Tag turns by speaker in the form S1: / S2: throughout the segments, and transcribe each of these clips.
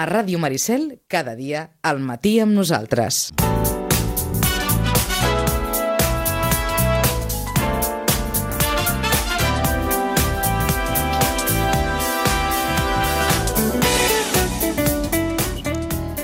S1: A Ràdio Maricel, cada dia, al matí amb nosaltres.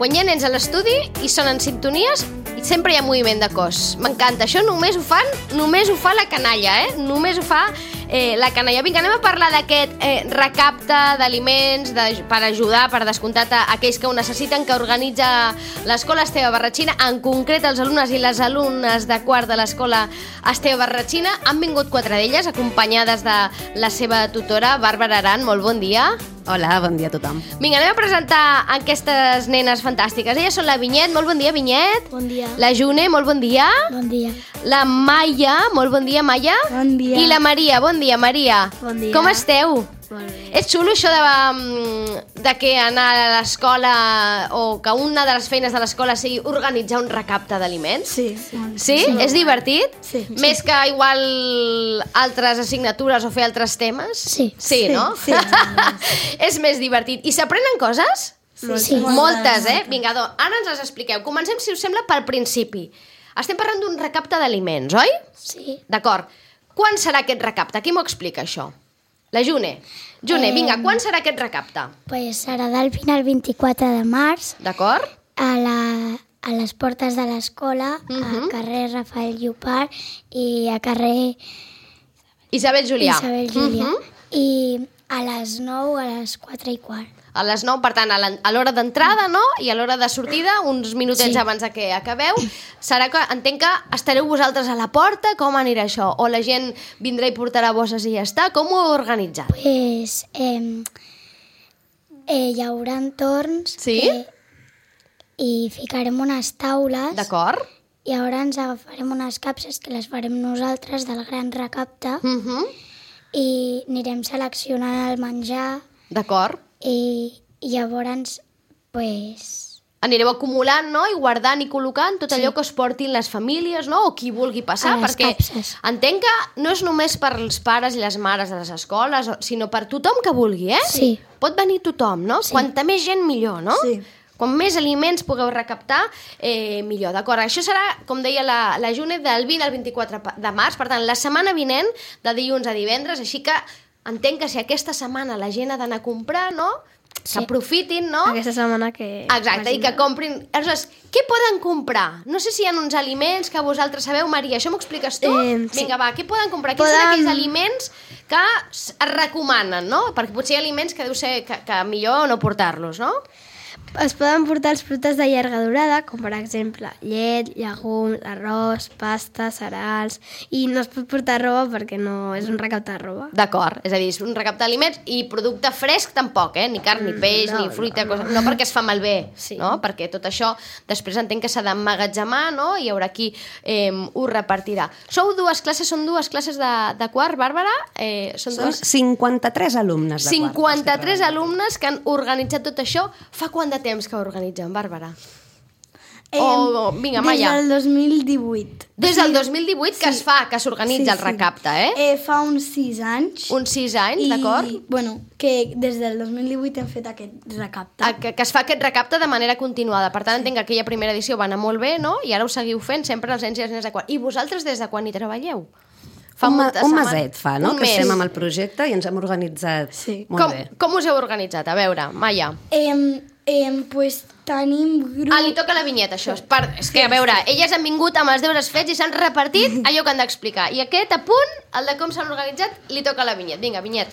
S2: Quan hi ha nens a l'estudi i són en sintonies, i sempre hi ha moviment de cos. M'encanta, això només ho fan, només ho fa la canalla, eh? Només ho fa eh, la canalla. Vinga, anem a parlar d'aquest eh, recapte d'aliments de, per ajudar, per descomptat, a aquells que ho necessiten, que organitza l'escola Esteve Barratxina, en concret els alumnes i les alumnes de quart de l'escola Esteve Barratxina. Han vingut quatre d'elles, acompanyades de la seva tutora, Bàrbara Aran. Molt bon dia.
S3: Hola, bon dia a tothom.
S2: Vinga, anem a presentar aquestes nenes fantàstiques. Elles són la Vinyet, molt bon dia, Vinyet.
S4: Bon dia.
S2: La June, molt bon dia.
S4: Bon dia.
S2: La Maia, molt bon dia, Maia.
S4: Bon dia.
S2: I la Maria, bon dia, Maria.
S4: Bon dia.
S2: Com esteu?
S4: Molt bé.
S2: És xulo això de, mm, de que anar a l'escola o que una de les feines de l'escola sigui organitzar un recapte d'aliments?
S4: Sí.
S2: Sí? És divertit?
S4: Sí.
S2: Més que igual altres assignatures o fer altres temes?
S4: Sí.
S2: Sí,
S4: Sí,
S2: no?
S4: sí.
S2: És més divertit. I s'aprenen coses?
S4: Sí.
S2: Moltes, eh? Vinga, doncs, ara ens les expliqueu. Comencem, si us sembla, pel principi. Estem parlant d'un recapte d'aliments, oi?
S4: Sí.
S2: D'acord. Quan serà aquest recapte? Qui m'ho explica, això? La June. June,
S4: Eh,
S2: vinga, quan serà aquest recapte?
S4: Pues serà del 20 al 24 de març
S2: D'acord?
S4: a, la, a les portes de l'escola, a
S2: Mhm.
S4: carrer Rafael Llopart i a carrer
S2: Isabel Julià.
S4: Isabel Júlia.
S2: Mhm.
S4: I a les 9, a les 4 i quart.
S2: A les 9, per tant, a la- a l'hora d'entrada, no? I a l'hora de sortida, uns minutets
S4: Sí.
S2: abans de que acabeu, serà que, entenc que estareu vosaltres a la porta, com anirà això? O la gent vindrà i portarà bosses i ja està? Com ho heu organitzat?
S4: Pues, eh, eh, hi haurà torns
S2: Sí?
S4: que- i ficarem unes taules
S2: D'acord?
S4: i ara ens agafarem unes capses que les farem nosaltres del gran recapte
S2: Mhm.
S4: i anirem seleccionant el menjar
S2: D'acord.
S4: i, i llavors pues,
S2: Anireu acumulant, no?, i guardant i col·locant tot allò que es portin les famílies, no?, o qui vulgui passar,
S4: A les
S2: perquè
S4: capses.
S2: entenc que no és només per als pares i les mares de les escoles, o- sinó per tothom que vulgui, eh?
S4: Sí.
S2: Pot venir tothom, no? Sí. Quanta més gent, millor, no?
S5: Sí.
S2: Com més aliments pugueu recaptar, eh, millor, d'acord? Això serà, com deia la, la June, del 20 al 24 pa- de març, per tant, la setmana vinent, de dilluns a divendres, així que entenc que si aquesta setmana la gent ha d'anar a comprar, no?, que aprofitin, no?
S6: Aquesta setmana que...
S2: Oh. Exacte, i que comprin... Aleshores, què poden comprar? No sé si hi ha uns aliments que vosaltres sabeu, Maria, això m'ho expliques tu?
S6: Eh, sí.
S2: Vinga, va, què poden comprar? Quins
S6: Poden-
S2: són aquells aliments que s- es recomanen, no? Perquè potser hi ha aliments que deu ser que, que millor no portar-los, no?
S6: Es poden portar els productes de llarga durada, com per exemple llet, llegums, arròs, pasta, cereals... I no es pot portar roba perquè no és un recapte de roba.
S2: D'acord, és a dir, és un recapte d'aliments i producte fresc tampoc, eh? Ni carn, ni peix,
S6: Mm, no,
S2: ni fruita, no, cosa... no perquè es fa malbé, sí.
S6: Sí.
S2: no? Perquè tot això després entenc que s'ha d'emmagatzemar, no? I hi haurà qui eh, ho repartirà. Sou dues classes, són dues classes de, de quart, Bàrbara? Eh, són
S7: Són
S2: dues...
S7: 53 alumnes de quart.
S2: 53 alumnes que han organitzat tot això. Fa quant de temps que ho organitzen, Bàrbara? Oh, vinga, Maia.
S5: Des del 2018.
S2: Des del 2018 que es fa, que s'organitza el recapte, eh?
S5: eh? Fa uns 6 anys.
S2: Uns 6 anys, d'acord?
S5: I, bueno, que des del 2018 hem fet aquest recapte.
S2: A- que, que es fa aquest recapte de manera continuada. Per tant, entenc que aquella primera edició va anar molt bé, no? I ara ho seguiu fent sempre els nens i les nenes de quart. I vosaltres des de quan hi treballeu?
S7: un, ma-
S2: moltes
S7: un
S2: setmanes-
S7: maset fa, no?
S2: Un
S7: que
S2: mes.
S7: estem amb el projecte i ens hem organitzat
S5: Sí.
S7: molt
S2: com,
S7: bé.
S2: Com us heu organitzat? A veure, Maia.
S5: Em, em, pues tenim grup...
S2: Ah, li toca la vinyeta, això. És, per... és que, a veure, elles han vingut amb els deures fets i s'han repartit allò que han d'explicar. I aquest, a punt, el de com s'han organitzat, li toca la vinyet. Vinga, vinyet.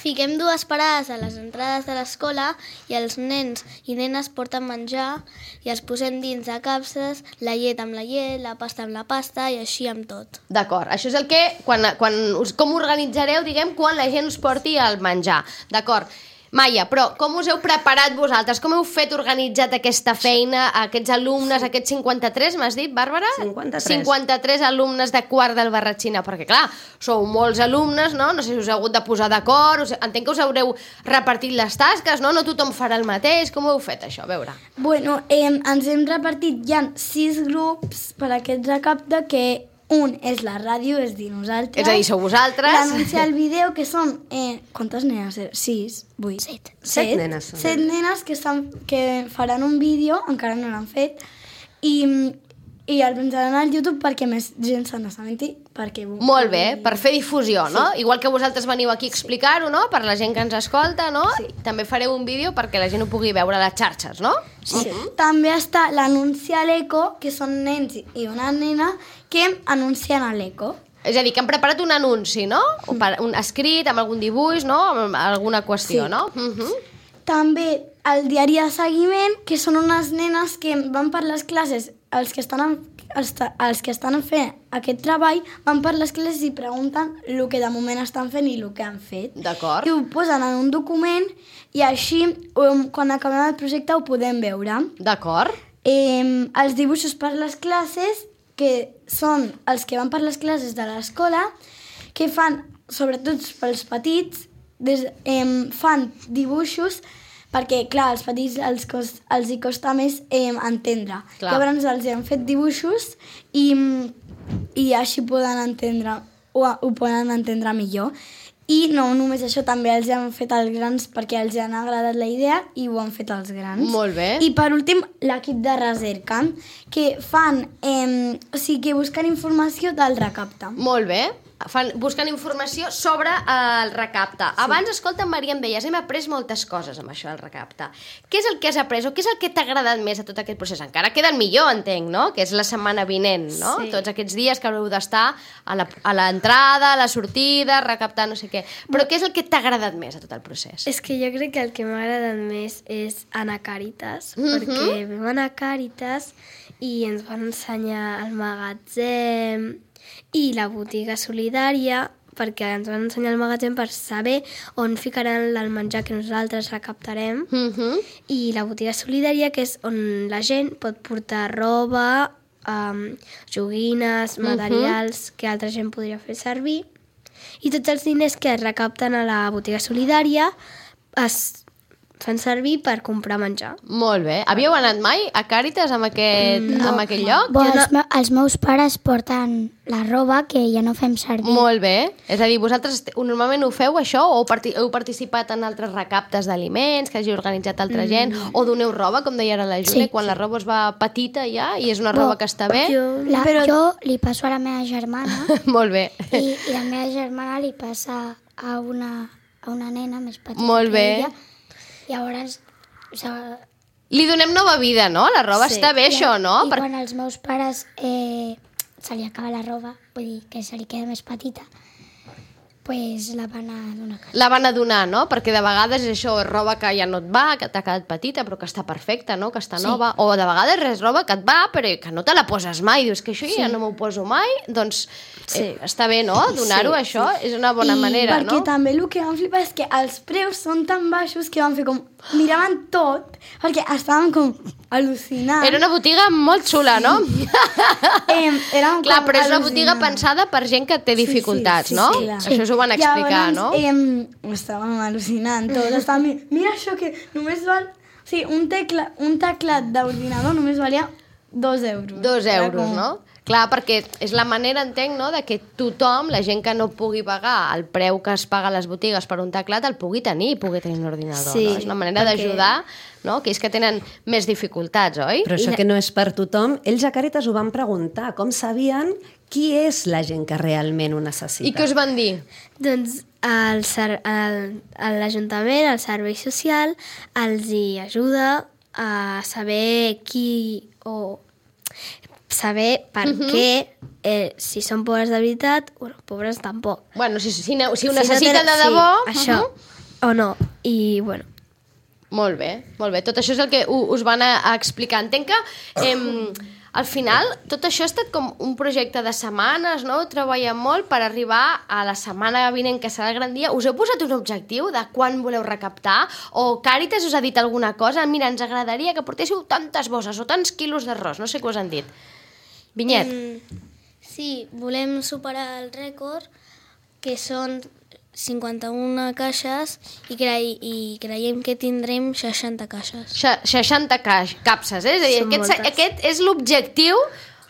S8: Fiquem dues parades a les entrades de l'escola i els nens i nenes porten menjar i els posem dins de capses, la llet amb la llet, la pasta amb la pasta i així amb tot.
S2: D'acord, això és el que, quan, quan us, com organitzareu, diguem, quan la gent us porti el menjar. D'acord. Maia, però com us heu preparat vosaltres? Com heu fet organitzat aquesta feina, aquests alumnes, aquests 53, m'has dit, Bàrbara?
S7: 53.
S2: 53 alumnes de quart del Barratxina, perquè clar, sou molts alumnes, no? No sé si us heu hagut de posar d'acord, us- entenc que us haureu repartit les tasques, no? No tothom farà el mateix, com ho heu fet això? A veure.
S5: Bueno, em, ens hem repartit, hi ha sis grups per aquest recapte que Un és la ràdio, és dir, nosaltres.
S2: És a dir, sou vosaltres.
S5: L'anunciar el vídeo, que són... Eh, quantes nenes? eren? Sis, vuit.
S8: Set.
S7: Set nenes són.
S5: Set nenes que, estan, que faran un vídeo, encara no l'han fet, i, i el penjaran al YouTube perquè més gent se n'assabenti, perquè...
S2: Molt bé, per fer difusió, no? Igual que vosaltres veniu aquí a explicar-ho, no? Per la gent que ens escolta, no? Sí. També fareu un vídeo perquè la gent ho pugui veure a les xarxes, no?
S5: Sí.
S2: Mm-hmm.
S5: També està l'anunci a l'eco, que són nens i una nena que anuncien a l'eco.
S2: És a dir, que han preparat un anunci, no? O per, un escrit, amb algun dibuix, no? Amb alguna qüestió,
S5: Sí.
S2: no? Uh -huh.
S5: També el diari de seguiment, que són unes nenes que van per les classes, els que estan, en, els, ta- els que estan fent aquest treball, van per les classes i pregunten el que de moment estan fent i el que han fet.
S2: D'acord.
S5: I ho posen en un document i així, um, quan acabem el projecte, ho podem veure.
S2: D'acord.
S5: Eh, els dibuixos per les classes, que són els que van per les classes de l'escola, que fan, sobretot pels petits, des, eh, fan dibuixos perquè, clar, els petits els, cost, els hi costa més eh, entendre.
S2: Clar.
S5: Clar. Llavors els hi han fet dibuixos i, i així poden entendre, ho, ho poden entendre millor. I no només això, també els hi han fet els grans perquè els hi han agradat la idea i ho han fet els grans.
S2: Molt bé.
S5: I per últim, l'equip de recerca, que fan, eh, o sigui, que busquen informació del recapte.
S2: Molt bé. Fan, busquen informació sobre eh, el recapte. Sí. Abans, escolta, Maria, em deies, hem après moltes coses amb això del recapte. Què és el que has après o què és el que t'ha agradat més a tot aquest procés? Encara queden millor, entenc, no? Que és la setmana vinent, no? Sí. Tots aquests dies que haureu d'estar a la- a l'entrada, a, a la sortida, recaptar no sé què. Però què és el que t'ha agradat més a tot el procés?
S6: És que jo crec que el que m'ha agradat més és anar a Càritas, mm
S2: Mhm.
S6: -hmm. perquè vam anar a Càritas i ens van ensenyar el magatzem i la botiga solidària, perquè ens van ensenyar el magatzem per saber on ficaran el menjar que nosaltres recaptarem,
S2: Mhm.
S6: i la botiga solidària, que és on la gent pot portar roba, um, joguines, materials que altra gent podria fer servir. I tots els diners que es recapten a la botiga solidària es fan servir per comprar menjar.
S2: Molt bé. Havíeu anat mai a Càritas amb aquest, no. amb aquest lloc?
S4: Bo, els, me els meus pares porten la roba que ja no fem servir.
S2: Molt bé. És a dir, vosaltres te- normalment ho feu, això, o parti heu participat en altres recaptes d'aliments que hagi organitzat altra gent, o doneu roba, com deia ara la Júlia, quan la roba es va petita ja i és una roba que està bé?
S6: Jo,
S4: La, Però... Jo li passo a la meva germana
S2: Molt bé.
S4: i, i la meva germana li passa a una, a una nena més petita
S2: Molt
S4: que
S2: bé.
S4: ella. Llavors, se,
S2: Li donem nova vida, no? La roba sí. està bé, això, no?
S4: I
S2: Per...
S4: quan els meus pares eh, se li acaba la roba, vull dir que se li queda més petita, pues la van a donar a casa.
S2: La van a donar, no? Perquè de vegades és això, és roba que ja no et va, que t'ha quedat petita, però que està perfecta, no? Que està nova. O de vegades és roba que et va, però que no te la poses mai. Dius que això ja no m'ho poso mai. Doncs eh, està bé, no? Donar-ho, sí, això, és una bona
S5: I
S2: manera,
S5: perquè
S2: no?
S5: també el que vam flipar és que els preus són tan baixos que van fer com... Miraven tot, perquè estàvem com al·lucinant.
S2: Era una botiga molt xula, no?
S5: Eh, érem
S2: Clar,
S5: com
S2: però és una botiga
S5: al·lucinant.
S2: pensada per gent que té dificultats, no?
S5: clar.
S2: Això us ho van explicar, no?
S5: Llavors, em, estàvem al·lucinant tots. Estàvem, mi- mira això que només val... O sigui, un, tecla, un teclat d'ordinador només valia dos euros.
S2: Dos
S5: Era
S2: euros,
S5: com-
S2: no? Clar, perquè és la manera, entenc, no?, de que tothom, la gent que no pugui pagar el preu que es paga a les botigues per un teclat, el pugui tenir i pugui tenir un ordinador,
S6: Sí,
S2: no? És una manera
S6: perquè-
S2: d'ajudar, no?, aquells que tenen més dificultats, oi?
S7: Però això que no és per tothom, ells a Caretes ho van preguntar, com sabien qui és la gent que realment ho necessita.
S2: I què us van dir?
S6: doncs el ser- el- a l'Ajuntament, el Servei Social, els hi ajuda a saber qui o saber per què, eh, si són pobres de veritat, bueno, pobres tampoc.
S2: Bueno, si, si, ne- si ho
S6: Si no
S2: necessiten
S6: tenen-
S2: de debò...
S6: Sí, això,
S2: Mhm.
S6: o no. I, bueno,
S2: Molt bé, molt bé. Tot això és el que u- us van a, a explicar. Entenc que em, al final tot això ha estat com un projecte de setmanes, no? Treballar molt per arribar a la setmana vinent que serà el gran dia. Us heu posat un objectiu de quan voleu recaptar? O Càritas us ha dit alguna cosa? Mira, ens agradaria que portéssiu tantes bosses o tants quilos d'arròs. No sé què us han dit. Vinyet. Mm.
S8: Sí, volem superar el rècord, que són 51 caixes i, crei i creiem que tindrem 60 caixes.
S2: 60 ca capses, eh? És a dir,
S6: Són
S2: aquest, se-
S6: moltes.
S2: aquest és l'objectiu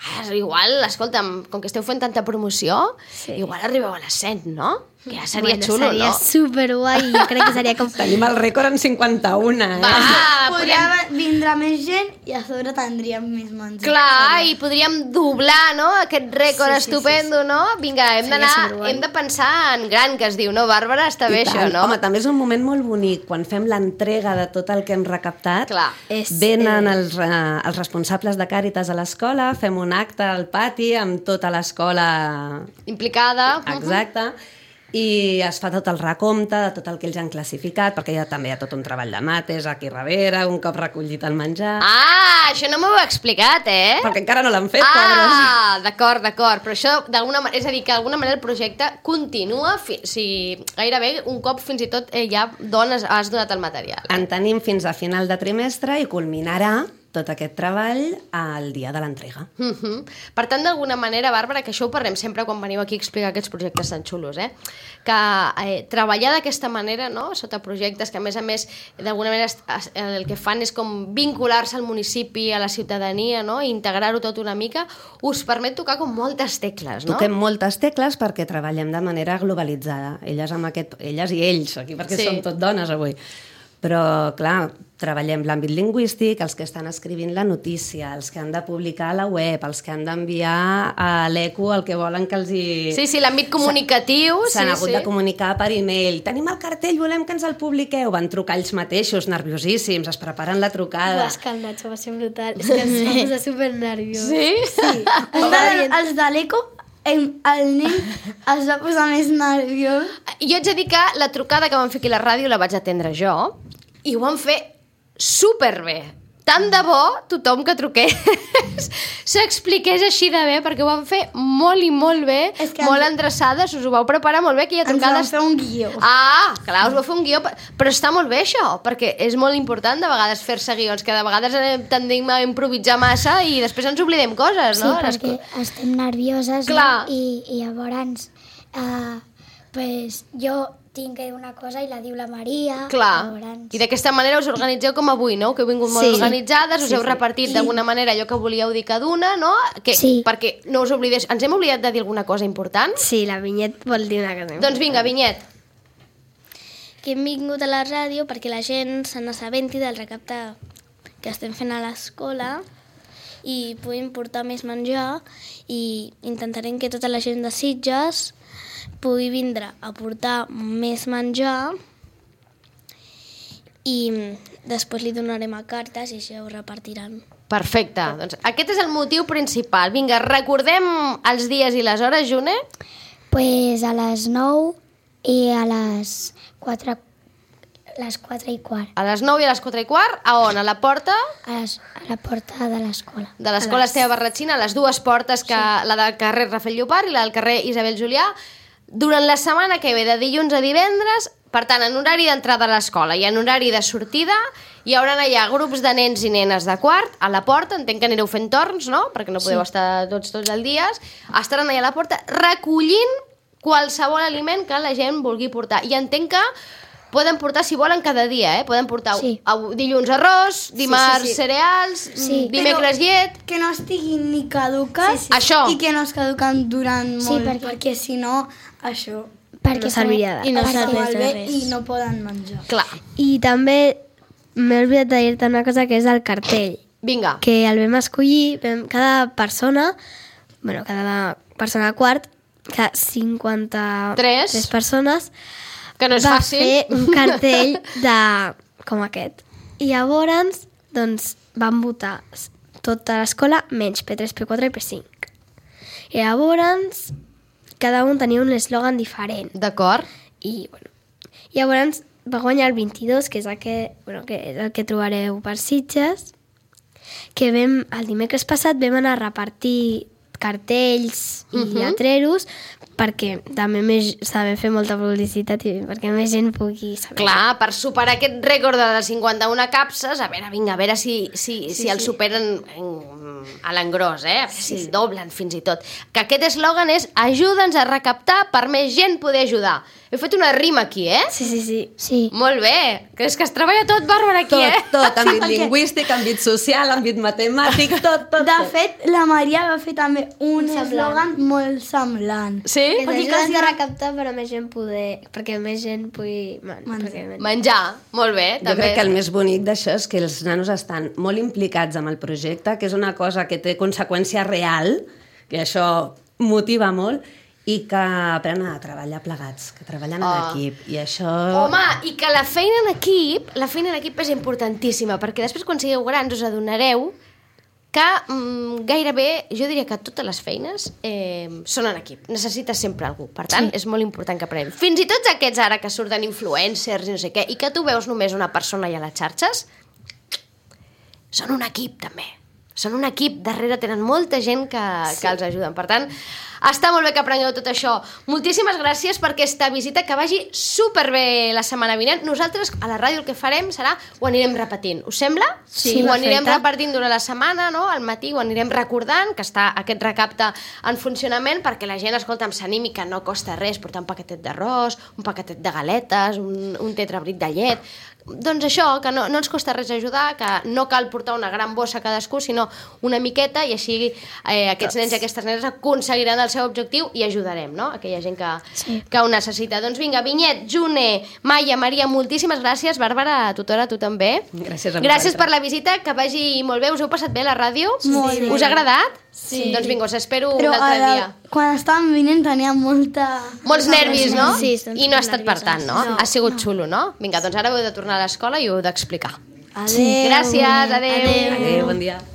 S2: Ah, Igual, escolta'm, com que esteu fent tanta promoció, sí. igual arribeu a les 100, no? Que ja seria
S6: bueno,
S2: xulo,
S6: seria
S2: no?
S6: superguai. Jo crec que seria com...
S7: Tenim el rècord en 51, eh?
S2: Va,
S5: Podria
S2: Ah, podríem...
S5: vindre més gent i a sobre tindríem més menjar.
S2: Clar, i podríem doblar, no?, aquest rècord sí, sí, estupendo, sí, sí. no? Vinga, hem d'anar...
S6: superguai.
S2: Hem de pensar en gran, que es diu, no, Bàrbara? Està bé,
S7: I
S2: això,
S7: tant.
S2: no?
S7: Home, també és un moment molt bonic, quan fem l'entrega de tot el que hem recaptat,
S2: Clar.
S6: És,
S7: venen els, eh, els responsables de Càritas a l'escola, fem un acte al pati amb tota l'escola
S2: Implicada.
S7: exacta, i es fa tot el recompte de tot el que ells han classificat, perquè ja també hi ha tot un treball de mates aquí darrere, un cop recollit el menjar...
S2: Ah, això no m'ho heu explicat, eh?
S7: Perquè encara no l'han fet, pobres.
S2: Ah, d'acord, d'acord, però això d'alguna manera, és a dir, que d'alguna manera el projecte continua, fi, o sigui, gairebé un cop fins i tot eh, ja dones, has donat el material.
S7: En tenim fins a final de trimestre i culminarà tot aquest treball al dia de l'entrega.
S2: Mm Per tant, d'alguna manera, Bàrbara, que això ho parlem sempre quan veniu aquí a explicar aquests projectes tan xulos, eh? que eh, treballar d'aquesta manera, no? sota projectes que, a més a més, d'alguna manera es- es- el que fan és com vincular-se al municipi, a la ciutadania, no? i integrar-ho tot una mica, us permet tocar com moltes tecles, no?
S7: Toquem moltes tecles perquè treballem de manera globalitzada. Elles, amb aquest, elles i ells, aquí perquè
S2: Sí.
S7: sí. som tot dones avui. Però, clar, treballem l'àmbit lingüístic, els que estan escrivint la notícia, els que han de publicar a la web, els que han d'enviar a l'ECO el que volen que els hi...
S2: Sí, sí, l'àmbit comunicatiu.
S7: S'han
S2: sí,
S7: hagut
S2: sí.
S7: de comunicar per e-mail. Tenim el cartell, volem que ens el publiqueu. Van trucar ells mateixos, nerviosíssims, es preparen la trucada.
S6: És que el Nacho Ah, va ser brutal. És que ens va posar supernerviós.
S2: Sí?
S5: Sí. Els de, els de l'eco, em- el nen es va posar més nerviós.
S2: Jo ets a dir que la trucada que van fer aquí a la ràdio la vaig atendre jo i ho van fer superbé. Tant de bo tothom que truqués s'expliqués així de bé, perquè ho van fer molt i molt bé,
S5: És que
S2: molt
S5: ens-
S2: endreçades, us ho vau preparar molt bé, aquella
S5: Ens
S2: trucada...
S5: van fer un guió.
S2: Ah, clar, us va fer un guió, pe- però està molt bé això, perquè és molt important de vegades fer-se guions, que de vegades anem- tendim a improvisar massa i després ens oblidem coses,
S4: Sí,
S2: no? Les
S4: perquè
S2: co-
S4: estem nervioses
S2: Clar.
S4: No? I, i llavors eh, pues, jo tinc que dir una cosa i la diu la Maria
S2: Clar,
S4: llavors...
S2: i d'aquesta manera us organitzeu com avui, no? Que heu vingut molt
S6: Sí.
S2: sí. organitzades, us sí, heu repartit d'alguna manera allò que volíeu dir cada una, no? Que,
S4: Sí.
S2: Perquè no us oblideu... Ens hem oblidat de dir alguna cosa important?
S6: Sí, la Vinyet vol dir una cosa.
S2: Doncs vinga, Vinyet.
S8: que hem vingut a la ràdio perquè la gent se n'assabenti del recapte que estem fent a l'escola i puguin portar més menjar i intentarem que tota la gent de Sitges pugui vindre a portar més menjar i després li donarem a cartes i ja ho repartiran.
S2: Perfecte. Doncs aquest és el motiu principal. Vinga, recordem els dies i les hores, June?
S4: pues a les 9 i a les 4 les 4 i quart
S2: A les 9 i a les 4 i quart. A on? A la porta?
S4: a, les, a la porta de l'escola
S2: de l'escola Esteve Barratxina, les dues portes, que la del carrer Rafael Llopart i la del carrer Isabel Julià, durant la setmana que ve, de dilluns a divendres, per tant, en horari d'entrada a l'escola i en horari de sortida, hi hauran allà grups de nens i nenes de quart a la porta, entenc que anireu fent torns, no? Perquè no podeu sí. estar tots tots els dies, estaran allà a la porta recollint qualsevol aliment que la gent vulgui portar. I entenc que poden portar, si volen, cada dia, eh? Poden portar
S4: Sí.
S2: av- dilluns arròs, dimarts sí, sí, sí. cereals, mm,
S4: Sí.
S2: dimecres llet...
S5: Que no estiguin ni caduques
S2: sí. Això.
S5: i que no es caduquen durant
S4: Sí,
S5: molt,
S4: perquè-
S5: perquè si no, això
S4: perquè
S6: No serviria
S4: fa-
S6: de- I
S5: es fa
S8: serveix de
S5: malbé
S8: res.
S5: i no poden menjar.
S2: Clar.
S6: I també m'he oblidat de dir-te una cosa que és el cartell.
S2: Vinga. Que...
S6: que el vam escollir, vam, cada persona, bueno, cada persona quart, cada 53
S2: Tres.
S6: persones,
S2: que no és
S6: va
S2: fàcil.
S6: fer un cartell de, com aquest. I llavors, doncs, van votar s- tota l'escola, menys P3, P4 i P5. I llavors, cada un tenia un eslògan diferent.
S2: D'acord.
S6: I, bueno, llavors va guanyar el 22, que és el que, bueno, que, és el que trobareu per Sitges, que vam, el dimecres passat vam anar a repartir cartells i
S2: Mhm.
S6: lletreros perquè també més, sabem fer molta publicitat i perquè més gent pugui saber.
S2: Clar, per superar aquest rècord de les 51 capses, a veure, vinga, a veure si, si, sí, si el superen en, a l'engròs, eh? A veure si el doblen fins i tot. Que aquest eslògan és ajuda'ns a recaptar per més gent poder ajudar. He fet una rima aquí, eh?
S6: Sí, sí, sí.
S4: Sí,
S2: Molt bé, que és que es treballa tot, Bàrbara, aquí,
S7: Tot,
S2: eh?
S7: tot, àmbit lingüístic, àmbit social, àmbit matemàtic, tot, tot.
S5: De
S7: tot.
S5: fet, la Maria va fer també un eslògan molt semblant.
S2: Sí?
S6: Perquè
S5: clar,
S6: ajuda'ns
S5: sí.
S6: a recaptar per a més gent poder... perquè més gent pugui... Man, perquè més...
S2: Menjar, molt bé,
S7: Jo
S2: també.
S7: crec que el més bonic d'això és que els nanos estan molt implicats amb el projecte, que és una cosa que té conseqüència real, que això motiva molt, i que aprenen a treballar plegats, que treballen en
S2: Oh.
S7: equip. I això...
S2: Home, i que la feina en equip, la feina en equip és importantíssima, perquè després quan sigueu grans us adonareu que mm, gairebé, jo diria que totes les feines eh, són en equip. Necessites sempre algú. Per tant, sí. és molt important que aprenem. Fins i tot aquests ara que surten influencers i no sé què, i que tu veus només una persona allà a les xarxes, són un equip, també. Són un equip, darrere tenen molta gent que, sí. que els ajuden. Per tant, està molt bé que aprengueu tot això. Moltíssimes gràcies per aquesta visita, que vagi superbé la setmana vinent. Nosaltres, a la ràdio, el que farem serà ho anirem repetint. Us sembla?
S6: Sí,
S2: Ho anirem
S6: perfecte.
S2: repartint durant la setmana, no? al matí ho anirem recordant, que està aquest recapte en funcionament, perquè la gent, escolta'm, s'animi, que no costa res portar un paquetet d'arròs, un paquetet de galetes, un, un tetrabric de llet, doncs això, que no, no ens costa res ajudar, que no cal portar una gran bossa cadascú, sinó una miqueta i així eh, aquests nens i aquestes nenes aconseguiran el seu objectiu i ajudarem, no?, aquella gent que, sí. que ho necessita. Doncs vinga, Vinyet, June, Maia, Maria, moltíssimes gràcies, Bàrbara, tutora, tu també.
S7: Gràcies a
S2: Gràcies
S7: vosaltres.
S2: per la visita, que vagi molt bé, us heu passat bé a la ràdio?
S5: Molt bé. eh,
S2: Us ha agradat? Sí. Doncs vinga, us espero un altre
S5: a la-
S2: dia.
S5: quan estàvem venint tenia molta...
S2: Molts nervis, no?
S8: Sí, estan
S2: I no ha estat per
S8: supernervioses.
S2: tant, no? no ha sigut no. xulo, no? Vinga, doncs ara heu de tornar a l'escola i ho heu d'explicar.
S5: Adéu.
S2: Gràcies, adéu.
S7: Adéu, bon dia.